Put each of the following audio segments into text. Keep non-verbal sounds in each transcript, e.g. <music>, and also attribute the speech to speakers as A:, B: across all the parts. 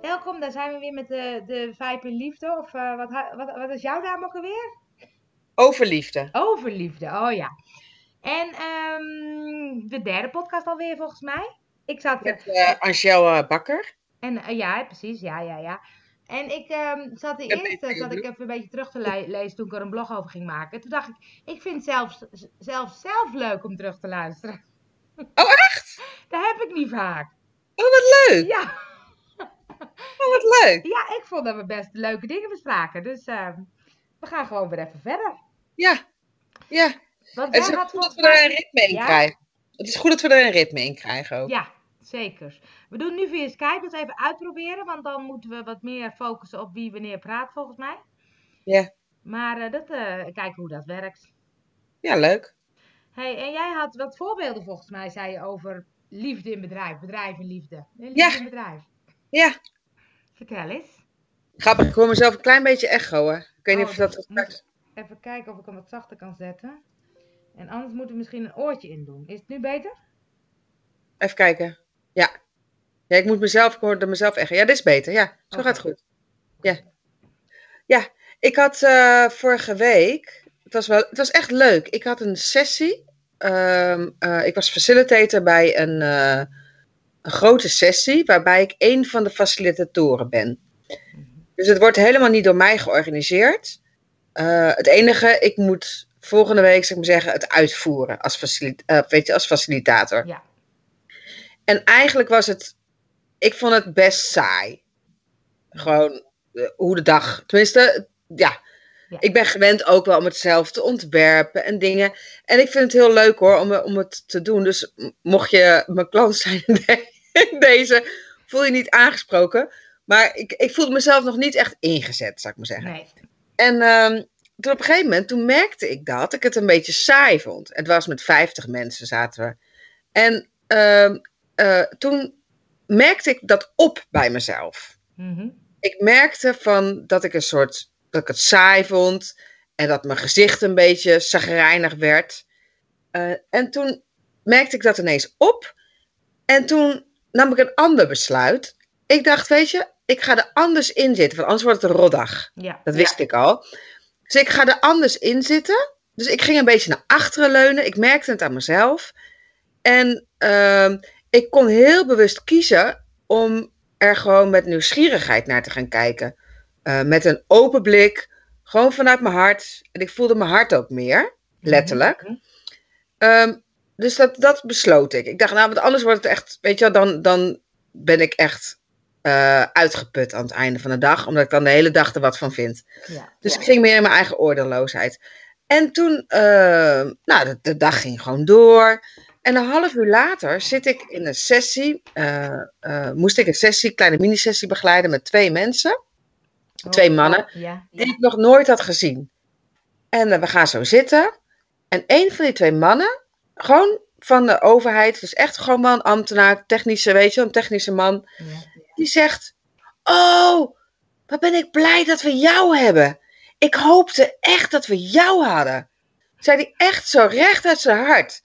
A: eh, zijn we weer met de, de vijf in liefde. Of eh, wat, ha- wat, wat is jouw naam ook alweer?
B: Overliefde.
A: Overliefde, oh ja. En ehm, de derde podcast alweer volgens mij. Ik zat,
B: Met eh Angela Bakker.
A: en, eh, ja, precies, ja, ja, ja. En ik ehm, zat de
B: Ja,
A: eerste,
B: beter,
A: zat ik
B: Judith.
A: even een beetje terug te le- lezen toen ik er een blog over ging maken. Toen dacht ik, ik vind het zelfs, zelf, zelf leuk om terug te luisteren.
B: Oh,
A: <laughs>
B: echt?
A: Dat heb ik niet vaak.
B: Oh, wat leuk.
A: Ja.
B: Oh, wat leuk.
A: Ja, ik vond dat we best leuke dingen bespraken. Dus eh, we gaan gewoon weer even verder.
B: Ja. Ja.
A: Want
B: Het is
A: jij
B: ook
A: had
B: goed dat we
A: volgens
B: er
A: mij-
B: een ritme in
A: Ja?
B: krijgen. Het is goed dat we er een ritme in krijgen ook.
A: Ja, zeker. We doen nu via Skype dat even uitproberen. Want dan moeten we wat meer focussen op wie wanneer praat, volgens mij.
B: Ja.
A: Maar eh, dat, eh, kijken hoe dat werkt.
B: Ja, leuk.
A: Hey, en jij had wat voorbeelden, volgens mij, zei je over liefde in bedrijf. Bedrijf in liefde. Nee, liefde
B: Ja.
A: in bedrijf.
B: Ja.
A: Vertel eens.
B: Grappig. Ik hoor mezelf een klein beetje echoen. Ik weet niet
A: Oh,
B: of dat...
A: dat moet- Even kijken of ik hem wat zachter kan zetten. En anders moeten we misschien een oortje in doen. Is het nu beter?
B: Even kijken. Ja. Ja, ik moet mezelf, ik hoorde mezelf echoen. Ja, dit is beter. Ja, zo
A: Oké.
B: gaat het goed. Ja. Ja, ik had eh, vorige week, het was, wel, het was echt leuk. Ik had een sessie. Ehm, eh, ik was facilitator bij een, eh, een grote sessie, waarbij ik één van de facilitatoren ben. Dus het wordt helemaal niet door mij georganiseerd. Eh, het enige, ik moet volgende week, zou ik maar zeggen, het uitvoeren als, facili- eh, weet je, als facilitator.
A: Ja.
B: En eigenlijk was het, ik vond het best saai. Gewoon eh, hoe de dag, tenminste, ja.
A: Ja.
B: Ik ben gewend ook wel om het zelf te ontwerpen en dingen. En ik vind het heel leuk hoor, om, eh, om het te doen. Dus m- mocht je mijn klant zijn in de- in deze, voel je niet aangesproken. Maar ik, ik voelde mezelf nog niet echt ingezet, zou ik maar zeggen.
A: Nee.
B: En ehm, toen op een gegeven moment, toen merkte ik dat ik het een beetje saai vond. Het was met 50 mensen zaten we. En ehm, eh, toen merkte ik dat op bij mezelf.
A: Mhm.
B: Ik merkte van dat ik een soort dat ik het saai vond en dat mijn gezicht een beetje zagrijnig werd. Eh, en toen merkte ik dat ineens op. En toen nam ik een ander besluit. Ik dacht, weet je, ik ga er anders in zitten, want anders wordt het een roddag.
A: Ja.
B: Dat wist ik al. Dus ik ga er anders in zitten. Dus ik ging een beetje naar achteren leunen. Ik merkte het aan mezelf. En ehm, ik kon heel bewust kiezen om er gewoon met nieuwsgierigheid naar te gaan kijken. Eh, met een open blik. Gewoon vanuit mijn hart. En ik voelde mijn hart ook meer. Letterlijk.
A: Mhm.
B: Ehm, dus dat, dat besloot ik. Ik dacht, nou, want anders wordt het echt, weet je wel, dan, dan ben ik echt eh, uitgeput aan het einde van de dag. Omdat ik dan de hele dag er wat van vind.
A: Ja.
B: Dus ik ging meer in mijn eigen oordeelloosheid. En toen, eh, nou, de, de dag ging gewoon door. En een half uur later zit ik in een sessie. eh, eh, moest ik een sessie, kleine mini-sessie begeleiden met twee mensen. Twee mannen.
A: Oh, Ja.
B: Die ik nog nooit had gezien. En eh, we gaan zo zitten. En een van die twee mannen, gewoon van de overheid, dus echt gewoon wel een ambtenaar, technische, weet je, wel, een technische man
A: Ja.
B: die zegt: Oh, wat ben ik blij dat we jou hebben. Ik hoopte echt dat we jou hadden. Zei hij echt zo recht uit zijn hart.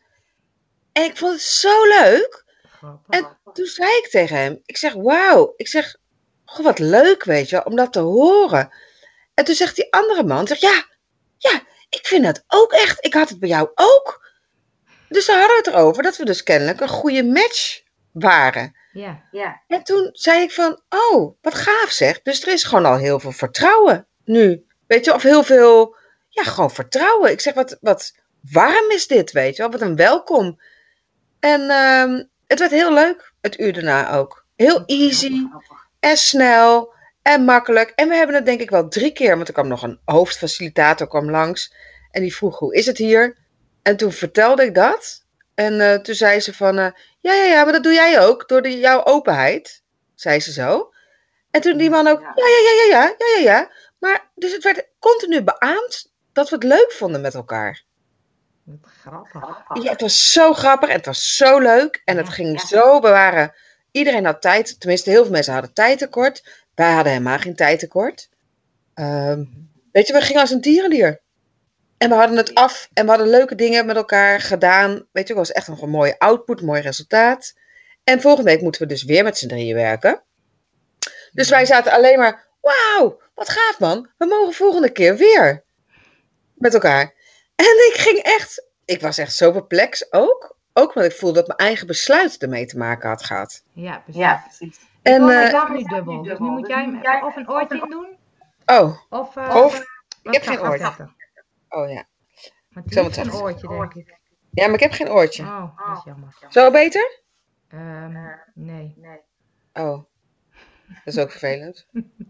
B: En ik vond het zo leuk. En
A: Grappig.
B: toen zei ik tegen hem: Ik zeg, wauw. Ik zeg, goh, wat leuk, weet je, wel, om dat te horen. En toen zegt die andere man: zegt, Ja, ja, ik vind dat ook echt. Ik had het bij jou ook. Dus daar hadden we het erover dat we dus kennelijk een goede match waren.
A: Ja.
B: En toen zei ik van, oh, wat gaaf zeg. Dus er is gewoon al heel veel vertrouwen nu. Weet je, of heel veel, ja, gewoon vertrouwen. Ik zeg, wat, wat warm is dit, weet je wel. Wat een welkom. En ehm, het werd heel leuk, het uur daarna ook. Heel easy en snel en makkelijk. En we hebben het denk ik wel drie keer, want er kwam nog een hoofdfacilitator kwam langs. En die vroeg, hoe is het hier? En toen vertelde ik dat. En eh, toen zei ze van, eh, ja, ja, ja, maar dat doe jij ook, door de, jouw openheid, zei ze zo. En toen die man ook, ja, ja, ja, ja, ja, ja, ja, ja. Maar, dus het werd continu beaamd dat we het leuk vonden met elkaar.
A: Wat grappig.
B: Ja, het was zo grappig en het was zo leuk. En het
A: Ja,
B: ging zo, we waren, iedereen had tijd, tenminste heel veel mensen hadden tijd tekort. Wij hadden helemaal geen tijd tekort. Ehm, weet je, we gingen als een tierendier. En we hadden het af en we hadden leuke dingen met elkaar gedaan. Weet je, het was echt nog een mooie output, mooi resultaat. En volgende week moeten we dus weer met z'n drieën werken. Dus wij zaten alleen maar, wauw, wat gaaf man. We mogen volgende keer weer met elkaar. En ik ging echt, ik was echt zo perplex ook. Ook omdat ik voelde dat mijn eigen besluit ermee te maken had gehad.
A: Ja, precies.
C: Ja, precies.
B: En,
A: Oh,
B: eh,
A: ik kan nu dubbel. Dus nu moet
C: Dus
A: jij
C: nu
A: hem
C: moet jij-
A: of een oortje in doen.
B: oh,
A: Of, eh,
B: Of-
A: wat
B: heb
A: kan-
B: geen
A: wat
B: oortje.
A: gaat er?
B: oh ja.
A: Want die
B: Zal
A: heeft
B: het
A: een
B: echt.
A: oortje, denk ik.
B: Ja, maar ik heb geen oortje.
A: Oh, dat is jammer.
B: Zo beter?
A: Ehm, nee.
B: Oh, dat is ook vervelend.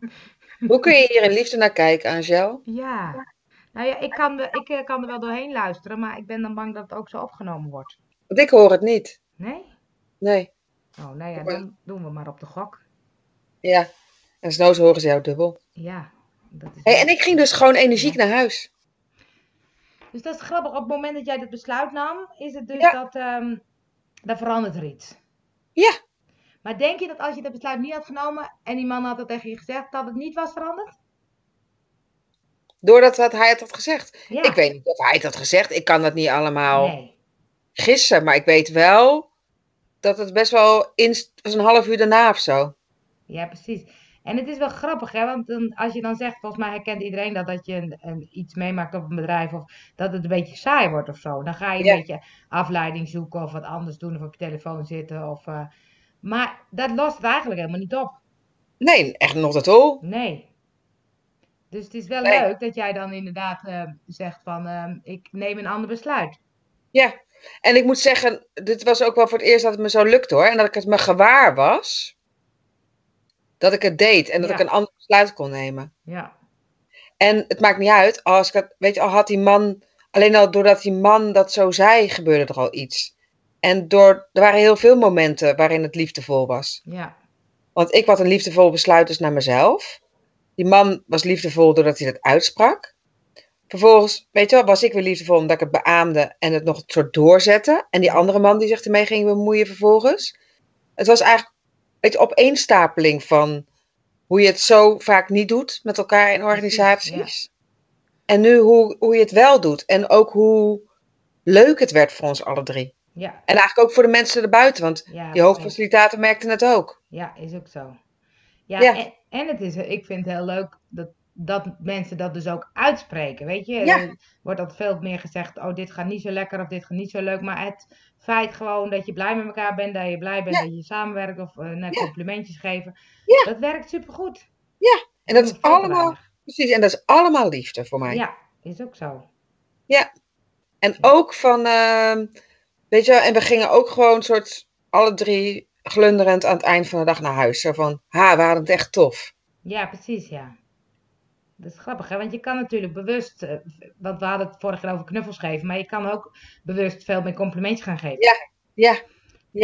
B: <laughs> Hoe kun je hier in liefde naar kijken, Angel?
A: Ja. Nou ja, ik kan, er, ik eh, kan er wel doorheen luisteren, maar ik ben dan bang dat het ook zo opgenomen wordt.
B: Want ik hoor het niet.
A: Nee?
B: Nee,
A: Oh, nou ja,
B: Oké.
A: dan doen we maar op de gok.
B: ja. En snooze horen ze jou dubbel.
A: Ja. Dat is
B: Hey, en ik ging dus gewoon energiek naar huis.
A: Dus dat is grappig. Op het moment dat jij dat besluit nam, is het dus
B: Ja.
A: dat. ehm dan verandert er iets.
B: Ja.
A: Maar denk je dat als je dat besluit niet had genomen en die man had dat tegen je gezegd, dat het niet was veranderd?
B: Doordat dat hij het had gezegd.
A: Ja.
B: Ik weet niet of hij het had gezegd. Ik kan dat niet allemaal
A: Nee.
B: gissen. Maar ik weet wel dat het best wel inst was een half uur daarna of zo.
A: Ja, precies. En het is wel grappig, hè? Want dan, als je dan zegt, volgens mij herkent iedereen dat, dat je een, een, iets meemaakt op een bedrijf of dat het een beetje saai wordt of zo. Dan ga je een
B: Ja.
A: beetje afleiding zoeken of wat anders doen of op je telefoon zitten. Of, eh, maar dat lost het eigenlijk helemaal niet op.
B: Nee, echt nog dat al.
A: Nee. Dus het is wel
B: Nee.
A: leuk dat jij dan inderdaad eh, zegt van ehm, ik neem een ander besluit.
B: Ja. En ik moet zeggen, dit was ook wel voor het eerst dat het me zo lukt hoor. En dat ik het me gewaar was. Dat ik het deed en dat
A: Ja.
B: ik een ander besluit kon nemen.
A: Ja,
B: En het maakt niet uit, als ik had, weet je, al had die man, alleen al doordat die man dat zo zei, gebeurde er al iets. En door, er waren heel veel momenten waarin het liefdevol was.
A: ja,
B: Want ik had een liefdevol besluit dus naar mezelf. Die man was liefdevol doordat hij dat uitsprak. Vervolgens, weet je wel, was ik weer liefdevol omdat ik het beaamde en het nog een soort doorzette. En die andere man die zich ermee ging bemoeien vervolgens. Het was eigenlijk een opeenstapeling van hoe je het zo vaak niet doet met elkaar in organisaties. En nu hoe, hoe je het wel doet. En ook hoe leuk het werd voor ons alle drie.
A: ja,
B: En eigenlijk ook voor de mensen erbuiten, want
A: ja.
B: die
A: precies.
B: hoofdfacilitator merkte het ook.
A: Ja, is ook zo. Ja,
B: Ja.
A: En, en het is, ik vind het heel leuk dat, dat mensen dat dus ook uitspreken, weet je.
B: Ja.
A: Er wordt dat veel meer gezegd, oh dit gaat niet zo lekker of dit gaat niet zo leuk. Maar het feit gewoon dat je blij met elkaar bent, dat je blij bent
B: Ja.
A: dat je samenwerkt of eh, nou,
B: Ja.
A: complimentjes geven.
B: Ja.
A: Dat werkt supergoed.
B: En dat is
A: Veel te
B: allemaal,
A: weinig.
B: precies, en dat is allemaal liefde voor mij.
A: Ja, is ook zo.
B: En ook van, ehm, weet je wel, en we gingen ook gewoon soort, alle drie glunderend aan het eind van de dag naar huis. Zo van, ha, we hadden het echt tof.
A: Ja, precies, ja. Dat is grappig, hè? Want je kan natuurlijk bewust, eh, want we hadden het vorige keer over knuffels geven, maar je kan ook bewust veel meer complimentjes gaan geven.
B: Ja, ja,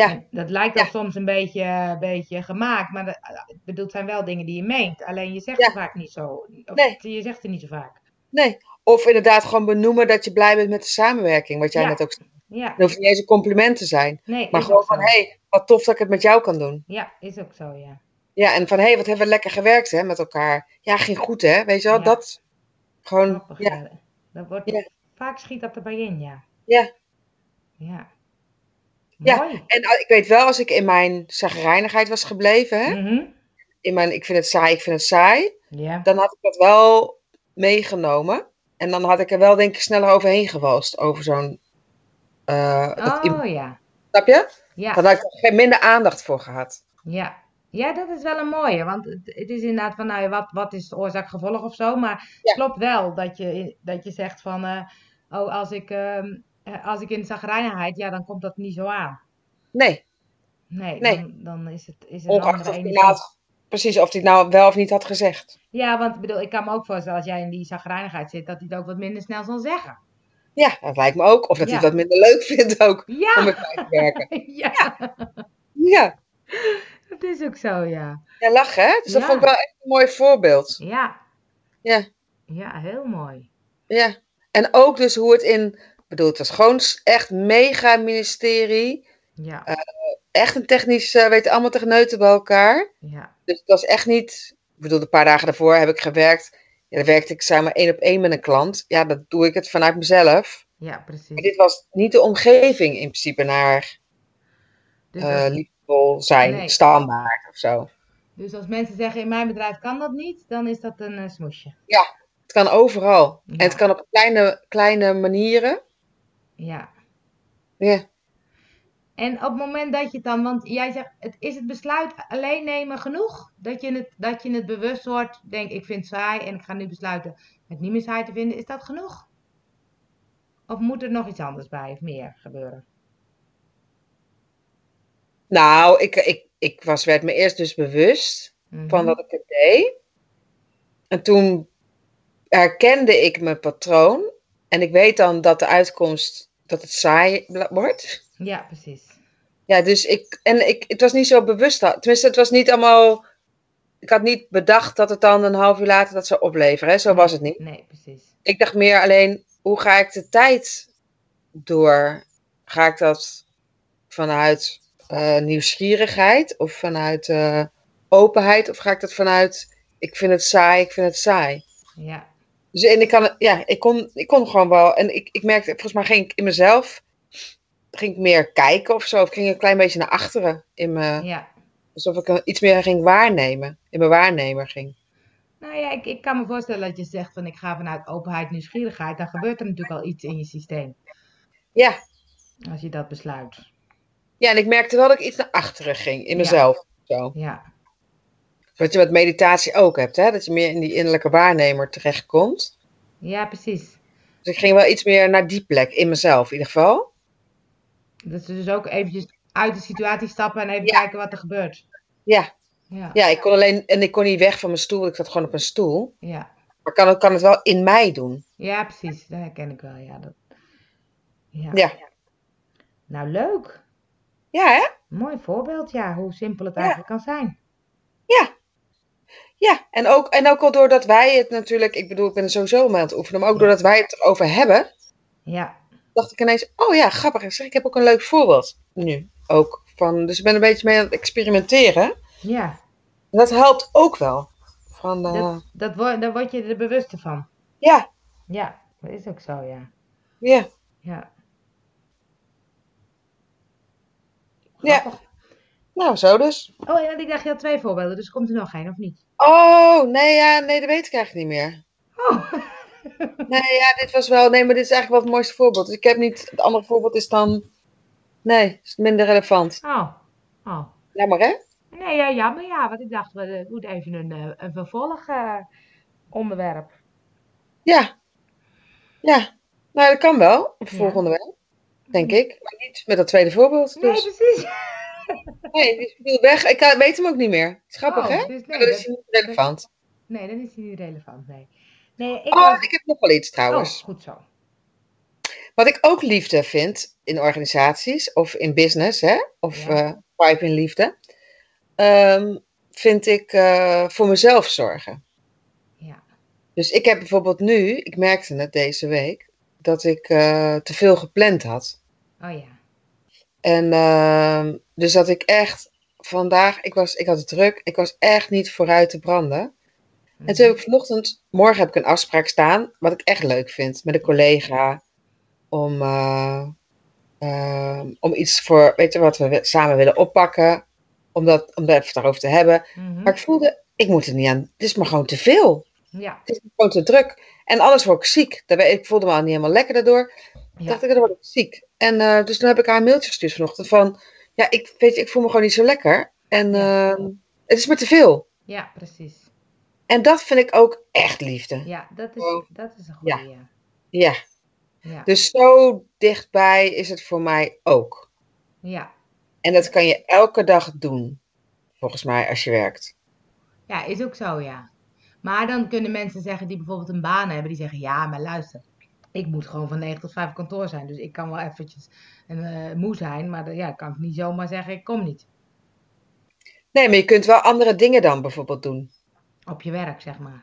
A: En Dat lijkt
B: Ja.
A: dan soms een beetje, eh, beetje gemaakt, maar dat, eh, ik bedoel, het zijn wel dingen die je meent. Alleen je zegt
B: Ja.
A: het vaak niet zo. Of
B: Nee.
A: Je zegt het niet zo vaak.
B: nee. Of inderdaad gewoon benoemen dat je blij bent met de samenwerking, wat jij
A: Ja.
B: net ook zei.
A: Ja,
B: Dat hoeft niet eens een compliment te zijn,
A: nee,
B: maar
A: is
B: gewoon
A: ook
B: van,
A: zo.
B: hé, hey, wat tof dat ik het met jou kan doen.
A: Ja, is ook zo, ja.
B: Ja, en van, hé, hey, wat hebben we lekker gewerkt, hè, met elkaar. Ja, ging goed, hè, weet je wel,
A: Ja.
B: dat gewoon,
A: Grappig,
B: ja,
A: ja. Dat wordt,
B: Ja.
A: Vaak schiet dat erbij in, ja.
B: Ja.
A: Ja.
B: Ja,
A: Mooi.
B: En al- ik weet wel, als ik in mijn zagrijnigheid was gebleven, hè,
A: Mhm.
B: in mijn ik vind het saai, ik vind het saai,
A: Ja,
B: dan had ik dat wel meegenomen. En dan had ik er wel, denk ik, sneller overheen gewalst. Over zo'n. eh dat,
A: oh ja.
B: snap je?
A: Ja.
B: Dan had ik er geen minder aandacht voor gehad.
A: Ja. ja, dat is wel een mooie. Want het, het is inderdaad van, nou ja, wat, wat is oorzaak-gevolg of zo. Maar het
B: Ja.
A: klopt wel dat je, dat je zegt van, eh, oh, als ik, ehm, eh, als ik in zagrijnigheid, ja, dan komt dat niet zo aan.
B: Nee,
A: Nee,
B: Nee.
A: Dan, dan is het is het een
B: ongeacht
A: andere
B: of die
A: energie.
B: nou, precies of die het nou wel of niet had gezegd.
A: Ja, want ik bedoel, ik kan me ook voorstellen als jij in die zagrijnigheid zit, dat hij het ook wat minder snel zal zeggen.
B: Ja, dat lijkt me ook. Of dat hij
A: Ja.
B: het wat minder leuk <laughs> vindt ook om
A: Ja,
B: met mij te werken.
A: <laughs> ja,
B: Ja,
A: dat is ook zo, ja.
B: ja lachen hè? Dus dat
A: Ja.
B: vond ik wel echt een mooi voorbeeld.
A: Ja,
B: Ja.
A: ja, heel mooi.
B: Ja, en ook dus hoe het in. Ik bedoel, het was gewoon s- echt mega ministerie.
A: Ja,
B: Eh. Echt een technisch, eh weet allemaal techneuten bij elkaar.
A: ja,
B: Dus het was echt niet. Ik bedoel, de paar dagen daarvoor heb ik gewerkt. Ja, dan werkte ik samen één op één met een klant. Ja, dat doe ik het vanuit mezelf.
A: ja,
B: Maar
A: precies.
B: dit was niet de omgeving in principe naar
A: Dus dat-
B: eh liefdevol zijn,
A: Nee.
B: standaard of zo.
A: Dus als mensen zeggen in mijn bedrijf kan dat niet, dan is dat een eh, smoesje.
B: Het kan overal.
A: Ja.
B: En het kan op kleine, kleine manieren.
A: Ja.
B: Ja.
A: En op het moment dat je het dan, want jij zegt, het, is het besluit alleen nemen genoeg? Dat je, het, dat je het bewust wordt, denk ik vind het saai en ik ga nu besluiten het niet meer saai te vinden. Is dat genoeg? Of moet er nog iets anders bij of meer gebeuren?
B: Nou, ik, ik, ik was, werd me eerst dus bewust
A: Mhm.
B: van dat ik het deed. En toen herkende ik mijn patroon. En ik weet dan dat de uitkomst, dat het saai bla- wordt.
A: Ja, precies.
B: Ja, dus ik. En ik, het was niet zo bewust. dat- Tenminste, het was niet allemaal. Ik had niet bedacht dat het dan een half uur later dat zou opleveren. Hè?
A: Mhm.
B: Zo was het niet.
A: Nee, precies.
B: Ik dacht meer alleen, hoe ga ik de tijd door? Ga ik dat vanuit eh, nieuwsgierigheid of vanuit eh, openheid? Of ga ik dat vanuit, ik vind het saai, ik vind het saai?
A: Ja,
B: Dus, en ik, kan, ja, ik, kon, ik kon gewoon wel. En ik, ik merkte, volgens mij ging ik in mezelf. Ging ik meer kijken of zo? Of ging ik een klein beetje naar achteren? In mijn,
A: ja.
B: alsof ik een- iets meer ging waarnemen. In mijn waarnemer ging.
A: Nou ja, ik, ik kan me voorstellen dat je zegt van ik ga vanuit openheid, nieuwsgierigheid. Dan gebeurt er natuurlijk al iets in je systeem
B: Ja.
A: als je dat besluit.
B: ja, en ik merkte wel dat ik iets naar achteren ging. In
A: Ja.
B: mezelf. Zo.
A: Ja,
B: Wat je met meditatie ook hebt. Hè? Dat je meer in die innerlijke waarnemer terechtkomt.
A: ja precies.
B: Dus ik ging wel iets meer naar die plek. In mezelf in ieder geval.
A: Dat ze dus ook eventjes uit de situatie stappen en even
B: Ja.
A: kijken wat er gebeurt.
B: Ja.
A: Ja, ja.
B: ja, ik kon alleen. En ik kon niet weg van mijn stoel. Ik zat gewoon op een stoel. Maar kan, het- kan het wel in mij doen.
A: Ja, precies. Dat herken ik wel. Ja, dat... ja.
B: Ja.
A: Nou, leuk.
B: Ja, hè?
A: Mooi voorbeeld, ja. Hoe simpel het
B: Ja.
A: eigenlijk kan zijn.
B: Ja, en ook, en ook al doordat wij het natuurlijk, ik bedoel, ik ben er sowieso mee aan het oefenen, maar ook doordat wij het erover hebben,
A: Ja,
B: dacht ik ineens, oh ja, grappig. Ik Zeg, ik heb ook een leuk voorbeeld nu ook van. Dus ik ben een beetje mee aan het experimenteren. En
A: ja.
B: dat helpt ook wel. Van, eh,
A: Dat, dat wor- daar word je er bewuster van.
B: Ja,
A: Ja, dat is ook zo, ja.
B: ja,
A: Ja.
B: Ja.
A: Grappig.
B: nou zo dus.
A: Oh, en ik dacht, je had twee voorbeelden, dus komt er nog één of niet?
B: Oh, nee, ja, nee, dat weet ik eigenlijk niet meer.
A: Oh,
B: Nee, ja, dit was wel, nee, maar dit is eigenlijk wel het mooiste voorbeeld. Dus ik heb niet, het andere voorbeeld is dan, nee, is minder relevant.
A: oh, oh.
B: Jammer, hè?
A: Nee, ja, jammer ja, want ik dacht, we eh, moeten even een, eh, een vervolg eh, onderwerp.
B: Ja. Ja. Nou, dat kan wel. Op
A: Ja.
B: volgende week. Denk ik. Maar niet met dat tweede voorbeeld.
A: Nee,
B: Dus.
A: precies.
B: Nee, die is bedoeld weg. Ik kan- weet hem ook niet meer. Is grappig,
A: Oh,
B: hè?
A: dus
B: Maar
A: nee,
B: dat is
A: dat-
B: niet relevant.
A: nee, dan is hij niet relevant, nee. Nee, ik
B: Oh,
A: was...
B: ik heb nog wel iets trouwens.
A: Oh, goed zo.
B: Wat ik ook liefde vind in organisaties of in business, hè? Of eh
A: Ja.
B: pipe in liefde. ehm, vind ik eh, voor mezelf zorgen.
A: Ja.
B: Dus ik heb bijvoorbeeld nu, ik merkte het deze week, dat ik eh, te veel gepland had.
A: Oh ja.
B: En ehm, dus dat ik echt vandaag, ik, was, ik had het druk, ik was echt niet vooruit te branden.
A: Mhm.
B: En toen heb ik vanochtend, morgen heb ik een afspraak staan, wat ik echt leuk vind, met een collega. Om, eh, ehm, om iets voor, weet je, wat we we- samen willen oppakken. Om, dat, om daar even het daarover te hebben.
A: Mhm.
B: Maar ik voelde, ik moet er niet aan, het is maar gewoon te veel.
A: Ja,
B: Het is me gewoon te druk. En anders word ik ziek. Daar ben- Ik voelde me al niet helemaal lekker daardoor
A: ja.
B: dacht ik, dan word ik ziek. En eh, dus toen heb ik haar een mailtje gestuurd vanochtend van, ja, ik weet je, ik voel me gewoon niet zo lekker. En
A: Ja.
B: ehm, het is me te veel.
A: ja, precies.
B: En dat vind ik ook echt liefde.
A: Ja, dat is,
B: Oh.
A: dat is een goede, ja.
B: Ja,
A: Ja,
B: dus zo dichtbij is het voor mij ook.
A: ja.
B: En dat kan je elke dag doen, volgens mij, als je werkt.
A: Ja, is ook zo, ja. Maar dan kunnen mensen zeggen die bijvoorbeeld een baan hebben, die zeggen, ja, maar luister, ik moet gewoon van 9 tot 5 op kantoor zijn. Dus ik kan wel eventjes een, eh, moe zijn, maar dan, ja, kan ik niet zomaar zeggen, ik kom niet.
B: Nee, maar je kunt wel andere dingen dan bijvoorbeeld doen.
A: Op je werk, zeg maar.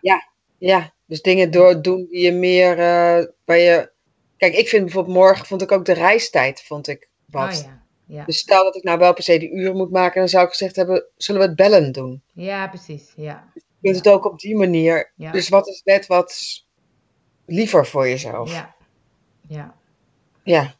B: Ja, dus dingen door doen die je meer, eh, waar je... Kijk, ik vind bijvoorbeeld morgen, vond ik ook de reistijd, vond ik wat.
A: Oh ja, ja.
B: Dus stel dat ik nou wel per se de uren moet maken, dan zou ik gezegd hebben, zullen we het bellen doen?
A: Ja, precies. Ja,
B: Je kunt het ook op die manier.
A: ja,
B: Dus wat is net wat s- liever voor jezelf?
A: ja, ja.
B: Ja.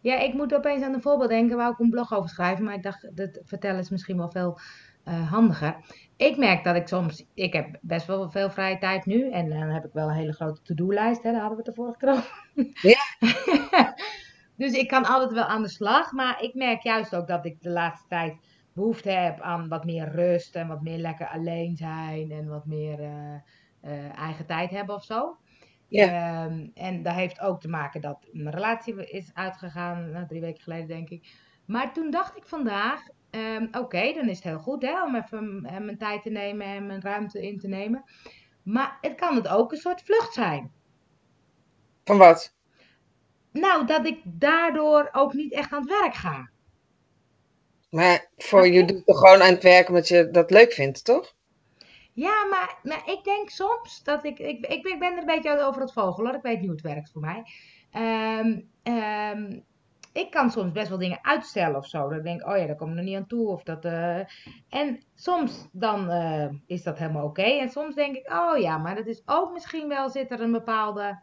A: Ja, ik moet opeens aan een voorbeeld denken waar ik een blog over schrijf. Maar ik dacht, dat vertellen is misschien wel veel eh, handiger. Ik merk dat ik soms, ik heb best wel veel vrije tijd nu en dan heb ik wel een hele grote to-do-lijst, hè, daar hadden we het de vorige keer over. Ja. <laughs> dus ik kan altijd wel aan de slag, maar ik merk juist ook dat ik de laatste tijd behoefte heb aan wat meer rust en wat meer lekker alleen zijn en wat meer eh, eh, eigen tijd hebben of zo.
B: Ja.
A: Ehm, en dat heeft ook te maken dat mijn relatie is uitgegaan, nou, drie weken geleden denk ik. Maar toen dacht ik vandaag, Ehm, Oké, dan is het heel goed hè, om even eh, mijn tijd te nemen en mijn ruimte in te nemen. Maar het kan het ook een soort vlucht zijn.
B: Van wat?
A: Nou, dat ik daardoor ook niet echt aan het werk ga.
B: Maar voor je doet toch gewoon aan het werk omdat je dat leuk vindt, toch?
A: Ja, maar, maar ik denk soms dat ik, ik, ik, ben- ik ben er een beetje over het vogel hoor. Ik weet niet hoe het werkt voor mij. Ehm, ehm, ik kan soms best wel dingen uitstellen of zo. Dat ik denk, oh ja, daar kom ik nog niet aan toe. Of dat, eh, En soms dan eh, is dat helemaal oké. En soms denk ik, oh ja, maar dat is ook misschien wel, zit er een bepaalde...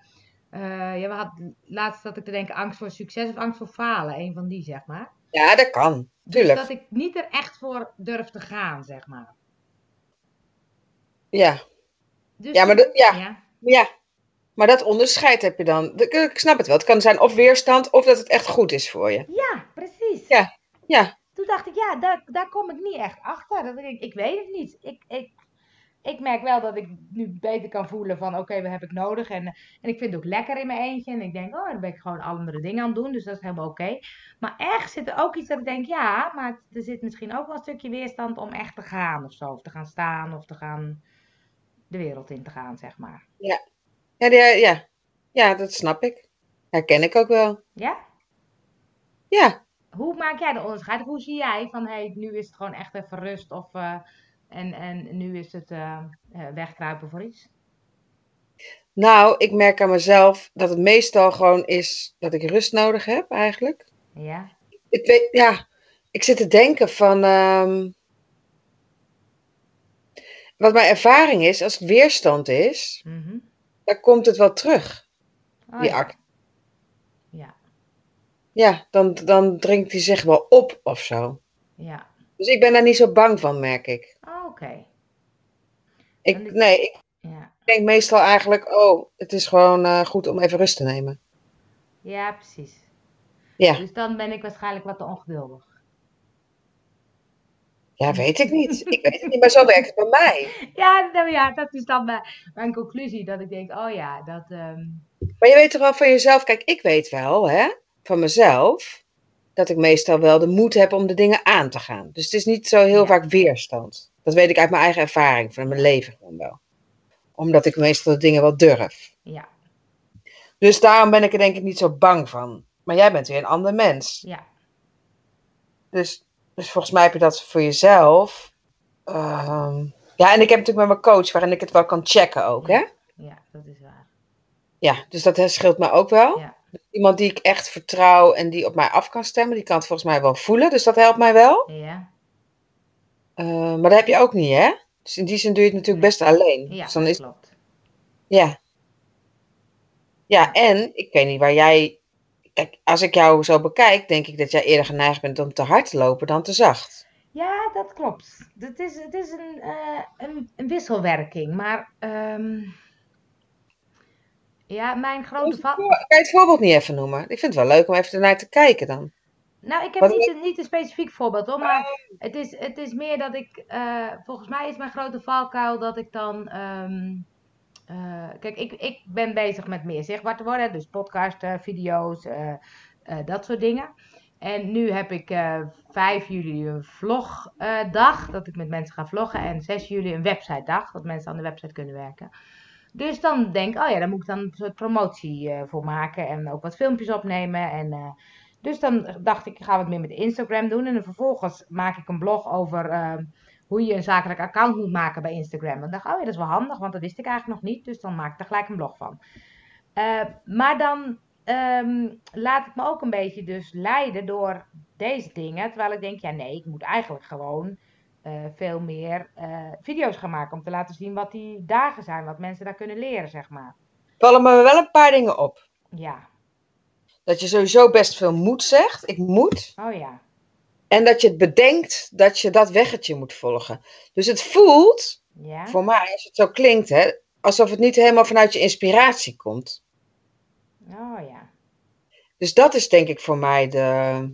A: eh, ja, we hadden laatst dat ik te denken angst voor succes of angst voor falen. Een van die, zeg maar.
B: Ja, dat kan.
A: Dus
B: Tuurlijk.
A: dat ik niet er echt voor durf te gaan, zeg maar.
B: Ja.
A: Dus
B: Ja, maar
A: toen-
B: dat- ja.
A: ja.
B: ja. Maar dat onderscheid heb je dan. Ik- Ik snap het wel. Het kan zijn of weerstand of dat het echt goed is voor je.
A: Ja, precies.
B: Ja, ja.
A: Toen dacht ik, ja, daar, daar kom ik niet echt achter. Dat ik, ik weet het niet. Ik, ik, ik merk wel dat ik nu beter kan voelen van, oké, wat heb ik nodig? En, en ik vind het ook lekker in mijn eentje. En ik denk, oh, dan ben ik gewoon andere dingen aan het doen. Dus dat is helemaal oké. Maar ergens zit er ook iets dat ik denk, ja, maar er zit misschien ook wel een stukje weerstand om echt te gaan of zo. Of te gaan staan of te gaan de wereld in te gaan, zeg maar.
B: Ja, ja, ja. ja dat snap ik. Herken ik ook wel.
A: Ja?
B: Ja.
A: Hoe maak jij de onderscheid? Hoe zie jij van hey, nu is het gewoon echt even rust of eh, en, en nu is het eh, eh, wegkruipen voor iets?
B: Nou, ik merk aan mezelf dat het meestal gewoon is dat ik rust nodig heb eigenlijk.
A: Ja,
B: Ik weet, ja, ik zit te denken van. ehm, wat mijn ervaring is, als het weerstand is,
A: mhm.
B: dan komt het wel terug,
A: Oh,
B: die
A: ja.
B: act.
A: Ja,
B: Ja, dan, dan dringt die zich wel op of zo.
A: ja.
B: Dus ik ben daar niet zo bang van, merk ik.
A: Oh, oké. Dan
B: ik
A: is-
B: nee, ik
A: Ja.
B: denk meestal eigenlijk, oh, het is gewoon eh, goed om even rust te nemen.
A: ja, precies.
B: Ja.
A: Dus dan ben ik waarschijnlijk wat te ongeduldig. <laughs>
B: Ja, weet ik niet. Ik weet het niet, maar zo werkt het bij mij.
A: Ja, nou ja, dat is dan mijn, mijn conclusie. Dat ik denk, oh ja, dat. ehm,
B: Maar je weet toch wel van jezelf, kijk, ik weet wel, hè, van mezelf, dat ik meestal wel de moed heb om de dingen aan te gaan. Dus het is niet zo heel
A: Ja.
B: vaak weerstand. Dat weet ik uit mijn eigen ervaring, van mijn leven gewoon wel. Omdat ik meestal de dingen wel durf.
A: ja,
B: Dus daarom ben ik er denk ik niet zo bang van. Maar jij bent weer een ander mens.
A: ja,
B: Dus, dus volgens mij heb je dat voor jezelf. Ehm, ja, en ik heb natuurlijk met mijn coach, waarin ik het wel kan checken ook, hè.
A: ja, dat is waar.
B: Ja, dus dat scheelt mij ook wel.
A: Ja.
B: Iemand die ik echt vertrouw en die op mij af kan stemmen, die kan het volgens mij wel voelen. Dus dat helpt mij wel.
A: Ja,
B: Eh, maar dat heb je ook niet, hè? Dus in die zin doe je het natuurlijk best alleen.
A: ja
B: dus dan
A: dat
B: is,
A: klopt.
B: ja. Ja, en ik weet niet waar jij. Kijk, als ik jou zo bekijk, denk ik dat jij eerder geneigd bent om te hard te lopen dan te zacht.
A: Ja, dat klopt. Het is, het is een, eh, een, een wisselwerking. Maar ehm, ja, mijn grote
B: Kan
A: val.
B: je het voorbeeld niet even noemen? Ik vind het wel leuk om even ernaar te kijken dan.
A: Nou, ik heb
B: Wat-
A: niet, een- niet een specifiek voorbeeld hoor. Maar het is, het is meer dat ik. eh, volgens mij is mijn grote valkuil dat ik dan. ehm, eh, kijk, ik, ik ben bezig met meer zichtbaar te worden. Dus podcasts, eh, video's, eh, eh, dat soort dingen. En nu heb ik eh 5 juli een vlogdag, dat ik met mensen ga vloggen. En 6 juli een websitedag, dat mensen aan de website kunnen werken. Dus dan denk ik, oh ja, daar moet ik dan een soort promotie eh, voor maken. En ook wat filmpjes opnemen. En, eh, dus dan dacht ik, ik ga wat meer met Instagram doen. En dan vervolgens maak ik een blog over eh, hoe je een zakelijk account moet maken bij Instagram. Dan dacht ik, oh ja, dat is wel handig, want dat wist ik eigenlijk nog niet. Dus dan maak ik er gelijk een blog van. Eh, maar dan ehm, laat ik me ook een beetje dus leiden door deze dingen. Terwijl ik denk, ja nee, ik moet eigenlijk gewoon eh, veel meer eh, video's gaan maken. Om te laten zien wat die dagen zijn, wat mensen daar kunnen leren, zeg maar.
B: Vallen me wel een paar dingen op.
A: Ja,
B: Dat je sowieso best veel moed zegt. Ik moet.
A: oh ja.
B: En dat je het bedenkt dat je dat weggetje moet volgen. Dus het voelt,
A: Ja.
B: voor mij, als het zo klinkt, hè, alsof het niet helemaal vanuit je inspiratie komt.
A: Oh ja.
B: Dus dat is denk ik voor mij de.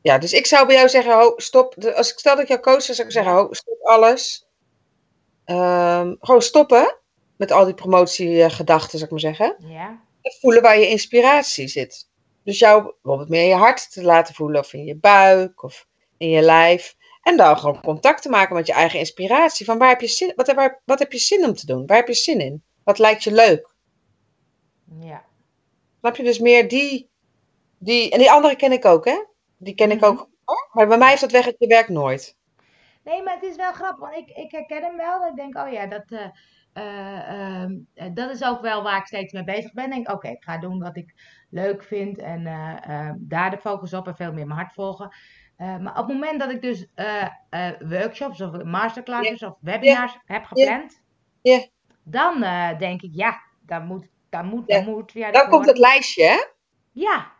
B: Ja, dus ik zou bij jou zeggen: ho, stop. De- Als ik stel dat ik jou coach, dan zou ik zeggen: ho, stop alles. Ehm, gewoon stoppen met al die promotiegedachten, zou ik maar zeggen.
A: Ja.
B: En voelen waar je inspiratie zit. Dus jou bijvoorbeeld meer in je hart te laten voelen, of in je buik, of in je lijf. En dan gewoon contact te maken met je eigen inspiratie. Van waar heb je zin, wat, waar, wat heb je zin om te doen? Waar heb je zin in? Wat lijkt je leuk?
A: Ja.
B: Snap je? Dus meer die, die. En die andere ken ik ook, hè? Die ken ik
A: Mhm.
B: ook. hoor. Maar bij mij heeft dat weg, het werkt nooit.
A: Nee, maar het is wel grappig. Want ik, ik herken hem wel. Ik denk, oh ja, dat, eh, eh, ehm, eh, dat is ook wel waar ik steeds mee bezig ben. Denk, oké, ik ga doen wat ik leuk vind. En eh, eh, daar de focus op en veel meer mijn hart volgen. Eh, maar op het moment dat ik dus eh, eh, workshops of masterclasses of webinars heb gepland.
B: Ja.
A: Dan eh, denk ik, ja, daar moet, daar moet,
B: Ja.
A: daar moet. Ja,
B: Dan
A: dat
B: komt
A: hoort.
B: het lijstje, hè?
A: Ja,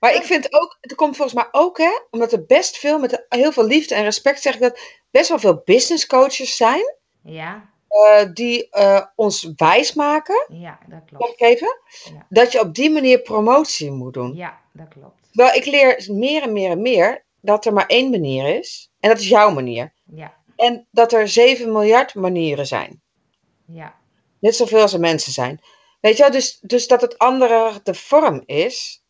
B: Maar ik vind ook, het komt volgens mij ook, hè? Omdat er best veel, met heel veel liefde en respect zeg ik dat, best wel veel business coaches zijn.
A: ja,
B: eh, die eh, ons wijs maken,
A: ja, dat
B: mag ik
A: klopt.
B: even,
A: Ja.
B: dat je op die manier promotie moet doen.
A: Ja, dat klopt.
B: Terwijl ik leer meer en meer en meer dat er maar één manier is. En dat is jouw manier.
A: Ja,
B: En dat er 7 miljard manieren zijn.
A: ja,
B: Net zoveel als er mensen zijn. Weet je wel, dus, dus dat het andere de vorm is.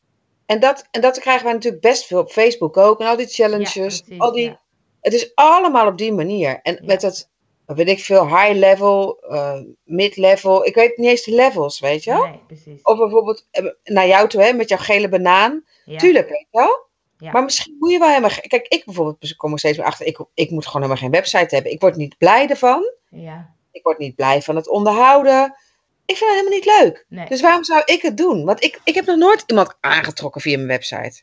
B: En dat, en dat krijgen wij natuurlijk best veel op Facebook ook. En al die
A: ja,
B: challenges.
A: precies,
B: al die,
A: ja.
B: Het is allemaal op die manier. En met
A: Ja.
B: dat, wat weet ik veel, high level, eh, mid level. Ik weet niet eens de levels, weet je wel.
A: Nee, precies.
B: Of bijvoorbeeld eh, naar jou toe, hè, met jouw gele banaan.
A: Ja.
B: Tuurlijk, weet je wel.
A: Ja.
B: Maar misschien moet je wel helemaal... ge- Kijk, ik bijvoorbeeld kom er steeds meer achter. Ik, ik moet gewoon helemaal geen website hebben. Ik word niet blij ervan.
A: Ja,
B: Ik word niet blij van het onderhouden. Ik vind dat helemaal niet leuk.
A: nee.
B: Dus waarom zou ik het doen? Want ik, ik heb nog nooit iemand aangetrokken via mijn website.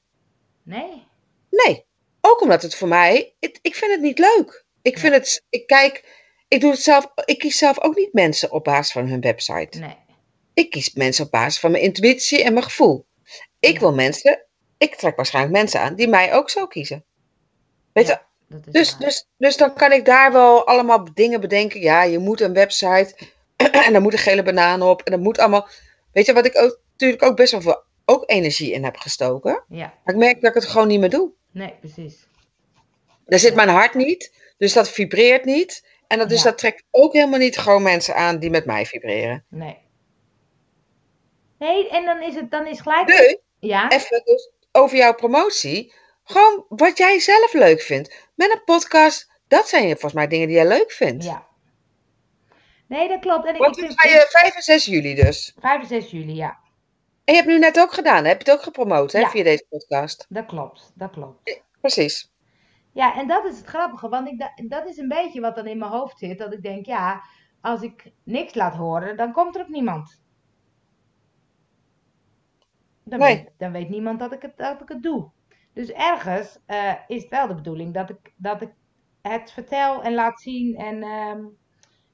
A: Nee.
B: Nee. Ook omdat het voor mij, het- ik vind het niet leuk. Ik
A: Ja.
B: vind het, ik kijk, ik doe het zelf, ik kies zelf ook niet mensen op basis van hun website.
A: Nee.
B: Ik kies mensen op basis van mijn intuïtie en mijn gevoel. Ik
A: Ja.
B: wil mensen, ik trek waarschijnlijk mensen aan die mij ook zo kiezen. Weet je,
A: Ja, dat is
B: dus,
A: waar.
B: dus, dus dan kan ik daar wel allemaal dingen bedenken. Ja, je moet een website. <clears throat> En dan moet een gele banaan op. En dat moet allemaal. Weet je wat ik ook, natuurlijk ook best wel veel ook energie in heb gestoken.
A: Ja,
B: Maar ik merk dat ik het gewoon niet meer doe.
A: nee, precies.
B: Daar zit
A: Ja.
B: mijn hart niet. Dus dat vibreert niet. En dat, dus
A: Ja.
B: dat trekt ook helemaal niet gewoon mensen aan die met mij vibreren.
A: Nee. Nee, en dan is het dan is gelijk.
B: Dus
A: Ja,
B: even dus over jouw promotie. Gewoon wat jij zelf leuk vindt. Met een podcast. Dat zijn volgens mij dingen die jij leuk vindt.
A: ja. Nee, dat klopt. En ik,
B: Want
A: ik
B: toen
A: vind
B: ga je 5 eh, en 6 juli dus.
A: 5 en 6 juli, ja.
B: En je hebt nu net ook gedaan, hè? heb je het ook gepromoot hè?
A: Ja.
B: via deze podcast.
A: Dat klopt. Dat klopt.
B: Precies.
A: Ja, en dat is het grappige, want ik, da- dat is een beetje wat dan in mijn hoofd zit. Dat ik denk, ja, als ik niks laat horen, dan komt er ook niemand. Dan,
B: Nee.
A: weet, dan weet niemand dat ik het, dat ik het doe. Dus ergens eh, is het wel de bedoeling dat ik, dat ik het vertel en laat zien. En, ehm,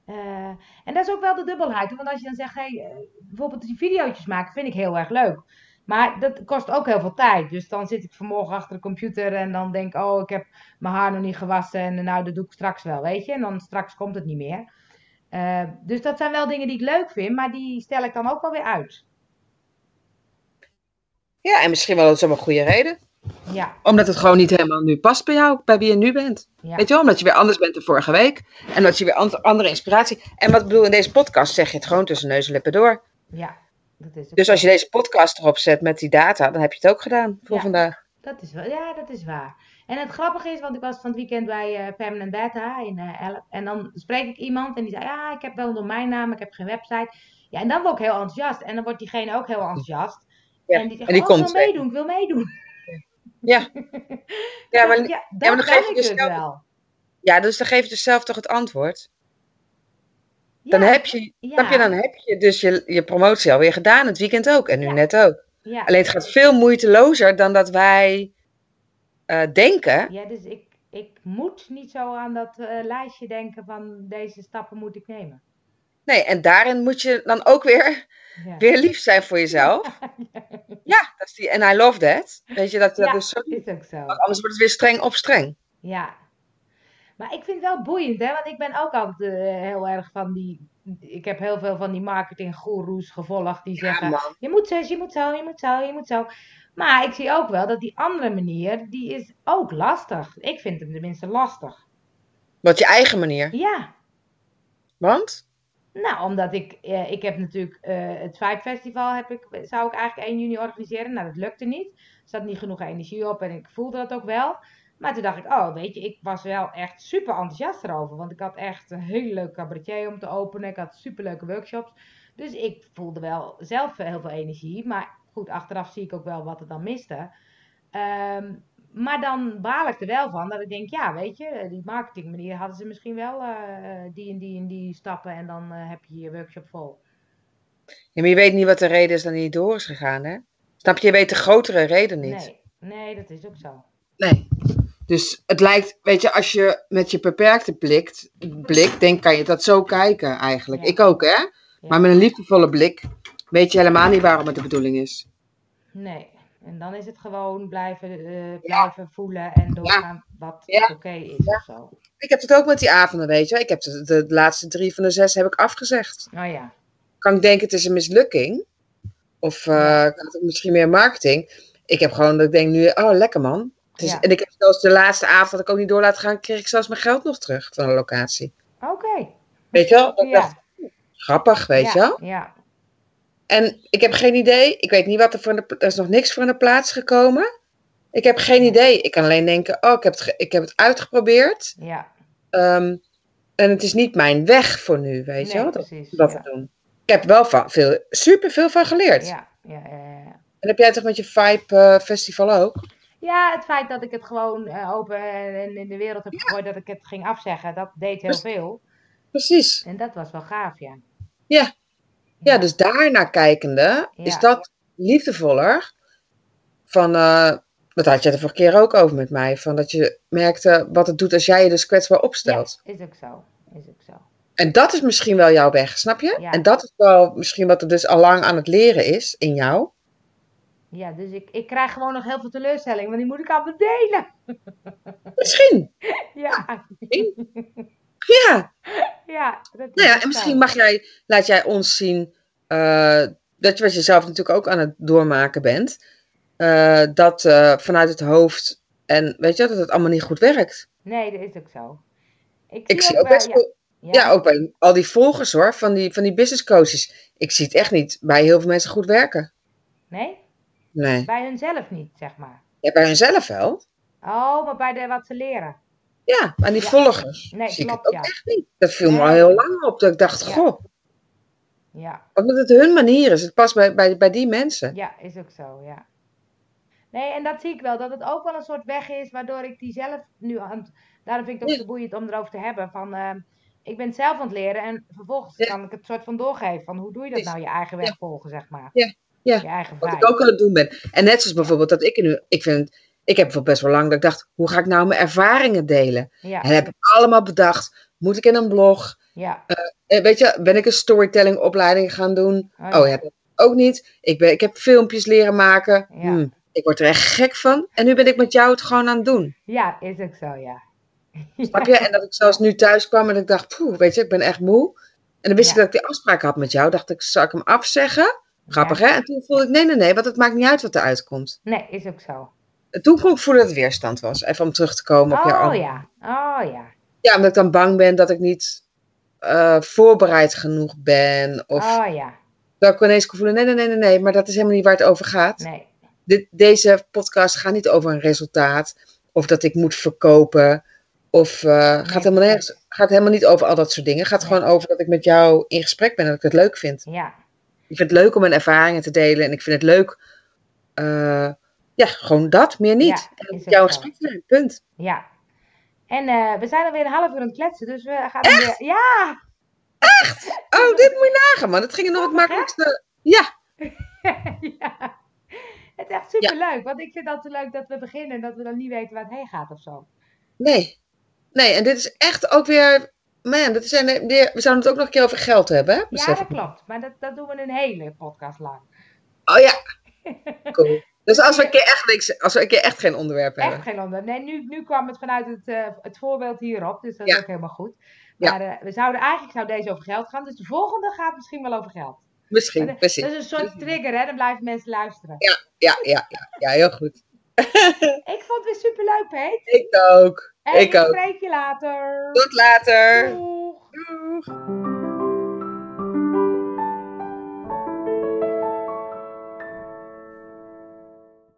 A: eh, en dat is ook wel de dubbelheid. hoor. Want als je dan zegt, hey, eh, bijvoorbeeld die video's maken, vind ik heel erg leuk. Maar dat kost ook heel veel tijd. Dus dan zit ik vanmorgen achter de computer en dan denk ik, oh, ik heb mijn haar nog niet gewassen en eh, nou, dat doe ik straks wel, weet je. En dan straks komt het niet meer. Eh, dus dat zijn wel dingen die ik leuk vind, maar die stel ik dan ook alweer uit.
B: Ja, en misschien wel dat is om een goede reden.
A: Ja,
B: Omdat het gewoon niet helemaal nu past bij jou, bij wie je nu bent.
A: ja,
B: Weet je wel, omdat je weer anders bent dan vorige week. En dat je weer an- andere inspiratie... En wat ik bedoel, in deze podcast zeg je het gewoon tussen neus en lippen door.
A: ja. Dat is, ook
B: Dus als
A: zo.
B: je deze podcast erop zet met die data, dan heb je het ook gedaan voor
A: Ja.
B: vandaag.
A: Dat is wel, ja, dat is waar. En het grappige is, want ik was van het weekend bij eh, Permanent Data in eh Elp. En dan spreek ik iemand en die zei, ja, ik heb wel een domeinnaam, ik heb geen website. Ja, en dan word ik heel enthousiast. En dan wordt diegene ook heel enthousiast.
B: Ja,
A: En die zegt,
B: en die
A: oh, ik
B: komt
A: wil meedoen, ik wil meedoen.
B: Ja. Ja,
A: <laughs> Dan
B: maar-
A: denk ik, dat
B: maar dan
A: kan
B: geef je
A: ik
B: dus
A: dus
B: zelf-
A: wel.
B: Ja, dus dan geef je dus zelf toch het antwoord. Dan
A: Ja,
B: heb je, snap je,
A: ja,
B: dan heb je dus je, je promotie alweer gedaan, het weekend ook. En nu
A: Ja.
B: net ook.
A: ja.
B: Alleen het gaat veel moeitelozer dan dat wij eh, denken.
A: Ja, dus ik, ik moet niet zo aan dat eh, lijstje denken van deze stappen moet ik nemen.
B: Nee, en daarin moet je dan ook weer, <laughs>
A: Ja.
B: weer lief zijn voor jezelf. Ja, dat is die, en I love that. Weet je, dat, dat
A: Ja.
B: is zo,
A: Is ook zo.
B: anders wordt het weer streng op streng.
A: Ja. Maar ik vind het wel boeiend, hè? Want ik ben ook altijd eh, heel erg van die. Ik heb heel veel van die marketinggoeroes gevolgd die
B: Ja,
A: zeggen:
B: man.
A: je moet zus, je moet zo, je moet zo, je moet zo. Maar ik zie ook wel dat die andere manier, die is ook lastig. Ik vind hem tenminste lastig.
B: Wat je eigen manier.
A: Ja.
B: Want?
A: Nou, omdat ik, eh, ik heb natuurlijk eh, het Vibe Festival heb ik, zou ik eigenlijk 1 juni organiseren. Nou, dat lukte niet. Er zat niet genoeg energie op en ik voelde dat ook wel. Maar toen dacht ik, oh, weet je, ik was wel echt super enthousiast erover. Want ik had echt een heel leuk cabaretier om te openen. Ik had super leuke workshops. Dus ik voelde wel zelf heel veel energie. Maar goed, achteraf zie ik ook wel wat er dan miste. Ehm, maar dan baal ik er wel van dat ik denk, ja, weet je, die marketingmanier hadden ze misschien wel eh, die en die en die stappen en dan eh, heb je je workshop vol.
B: Ja, maar je weet niet wat de reden is dat hij niet door is gegaan, hè? Snap je? Je weet de grotere reden niet.
A: Nee, nee, dat is ook zo.
B: Nee. Dus het lijkt, weet je, als je met je beperkte blik, blik denk kan je dat zo kijken eigenlijk.
A: Ja.
B: Ik ook, hè? Maar met een liefdevolle blik weet je helemaal niet waarom het de bedoeling is.
A: Nee. En dan is het gewoon blijven, eh, blijven voelen en doorgaan wat
B: Ja.
A: oké is of zo.
B: Ik heb het ook met die avonden, weet je. Ik heb de, de laatste drie van de zes heb ik afgezegd.
A: Oh ja.
B: Kan ik denken, het is een mislukking. Of eh, had ik misschien meer marketing. Ik heb gewoon dat ik denk nu, oh lekker man. Het is,
A: Ja.
B: En ik heb zelfs de laatste avond dat ik ook niet door laat gaan, kreeg ik zelfs mijn geld nog terug van de locatie.
A: Oké.
B: Weet je wel? Dat ik
A: Ja.
B: dacht, grappig,
A: ja.
B: weet je wel?
A: Ja.
B: En ik heb geen idee. Ik weet niet wat er voor in de, pla- er is nog niks voor in de plaats gekomen. Ik heb geen idee. Ik kan alleen denken, oh, ik heb het, ge- ik heb het uitgeprobeerd.
A: Ja.
B: Ehm, en het is niet mijn weg voor nu, weet je
A: Nee,
B: wel. Dat,
A: precies.
B: dat
A: ja.
B: te doen. Ik heb wel van, veel, super veel van geleerd.
A: Ja. Ja, ja, ja, ja.
B: En heb jij toch met je Vibe eh, Festival ook?
A: Ja, het feit dat ik het gewoon eh, open en en in de wereld heb gegooid dat ik het ging afzeggen, dat deed heel
B: Dus-
A: veel.
B: Precies.
A: En dat was wel gaaf, ja.
B: Ja. Ja, dus daarnaar kijkende
A: Ja.
B: is dat liefdevoller. Van, eh dat had je de vorige keer ook over met mij. Van dat je merkte wat het doet als jij je dus kwetsbaar
A: Ja,
B: opstelt.
A: is ook zo. Is ook zo.
B: En dat is misschien wel jouw weg, snap je?
A: Ja.
B: En dat is wel misschien wat er dus al lang aan het leren is in jou.
A: Ja, dus ik, ik krijg gewoon nog heel veel teleurstelling, want die moet ik allemaal delen.
B: Misschien.
A: Ja, <laughs>
B: Ja.
A: ja. Dat is
B: Nou ja,
A: ook
B: en misschien
A: zo.
B: mag jij, laat jij ons zien eh, dat je wat jezelf natuurlijk ook aan het doormaken bent. eh, dat eh, vanuit het hoofd en weet je dat het allemaal niet goed werkt.
A: Nee, dat is ook zo. Ik,
B: Ik zie ook best
A: wel...
B: veel, ja. ook bij al die volgers hoor, van die, van die business coaches. Ik zie het echt niet bij heel veel mensen goed werken.
A: Nee,
B: Nee.
A: bij hunzelf niet, zeg maar.
B: Ja, bij hunzelf wel.
A: Oh, maar bij de, wat ze leren.
B: Ja, maar die
A: Ja.
B: volgers
A: Nee,
B: zie ik
A: klopt,
B: het
A: ja.
B: ook echt niet. Dat viel me
A: Nee.
B: al heel lang op. Dat ik dacht,
A: Ja.
B: goh,
A: Ja,
B: omdat het hun manier is. Het past bij, bij, bij die mensen.
A: ja, is ook zo, ja. Nee, en dat zie ik wel, dat het ook wel een soort weg is waardoor ik die zelf nu aan... het- Daarom vind ik het ook
B: Ja.
A: zo boeiend om erover te hebben, van... ehm, ik ben het zelf aan het leren en vervolgens
B: Ja.
A: kan ik het soort van doorgeven. Van hoe doe je dat nou, je eigen weg volgen, zeg maar.
B: Ja, ja.
A: Je eigen
B: Wat
A: vibe.
B: ik ook aan het doen ben. En net zoals bijvoorbeeld dat ik er nu... Ik, vind, ik heb voor best wel lang dat ik dacht, hoe ga ik nou mijn ervaringen delen?
A: Ja,
B: En heb ik allemaal bedacht. Moet ik in een blog?
A: ja.
B: Eh, weet je, ben ik een storytelling opleiding gaan doen? Oh ja, dat ook niet. Ik, ben, ik heb filmpjes leren maken.
A: Ja.
B: Hmm, ik word er echt gek van. En nu ben ik met jou het gewoon aan het doen.
A: Ja, is ook zo, <laughs> ja.
B: Snap je? En dat ik zelfs nu thuis kwam en ik dacht, poeh, weet je, ik ben echt moe. En dan wist
A: Ja.
B: ik dat ik die afspraak had met jou. Dacht ik, zal ik hem afzeggen? Grappig,
A: Ja.
B: hè? En toen voelde ik, nee, nee, nee, want het maakt niet uit wat eruit komt.
A: Nee, is ook zo.
B: En toen kon ik voelen dat het weerstand was. Even om terug te komen op jouw
A: Oh
B: ja.
A: ja, oh ja.
B: ja, omdat ik dan bang ben dat ik niet eh, voorbereid genoeg ben. Of
A: Oh ja,
B: dat ik ineens kon voelen, nee, nee, nee, nee, nee, maar dat is helemaal niet waar het over gaat.
A: nee.
B: Dit, deze podcast gaat niet over een resultaat. Of dat ik moet verkopen. Of eh, gaat, helemaal nergens, gaat helemaal niet over al dat soort dingen. Gaat
A: Nee.
B: gewoon over dat ik met jou in gesprek ben en dat ik het leuk vind.
A: Ja,
B: Ik vind het leuk om mijn ervaringen te delen. En ik vind het leuk. eh, ja, gewoon dat, meer niet.
A: Ja, is
B: en met
A: ook
B: jou in
A: zo.
B: gesprek zijn, punt.
A: ja. En eh, we zijn alweer een half uur aan het kletsen, dus we gaan hem weer... Ja!
B: Oh, dit moet je nagen, man. Dat ging
A: Oh,
B: nog het makkelijkste. Ja,
A: <laughs> ja! Het is echt superleuk, want ik vind het altijd leuk dat we beginnen en dat we dan niet weten waar het heen gaat of zo.
B: nee. Nee, en dit is echt ook weer Man, dat is een, die- we zouden het ook nog een keer over geld hebben, hè?
A: Ja,
B: Besef
A: dat
B: ik me.
A: klopt. Maar dat, dat doen we een hele podcast lang.
B: Oh
A: <laughs>
B: ja. Cool. Dus als we, een keer echt niks, als we een keer echt geen onderwerp
A: Echt
B: hebben.
A: geen ander. Nee, nu, nu kwam het vanuit het, eh, het voorbeeld hierop, dus dat
B: Ja.
A: is ook helemaal goed.
B: Ja.
A: Maar eh, we zouden eigenlijk zou deze over geld gaan, dus de volgende gaat misschien wel over geld.
B: Misschien,
A: <laughs> Maar de-
B: precies.
A: Dat is een soort trigger, hè? Dan blijven mensen luisteren.
B: Ja, ja, ja, ja, heel goed.
A: Ik vond het weer superleuk, Peet.
B: Ik ook.
A: En
B: Ik ook.
A: spreek je later.
B: Tot later.
A: Doeg.
B: Doeg.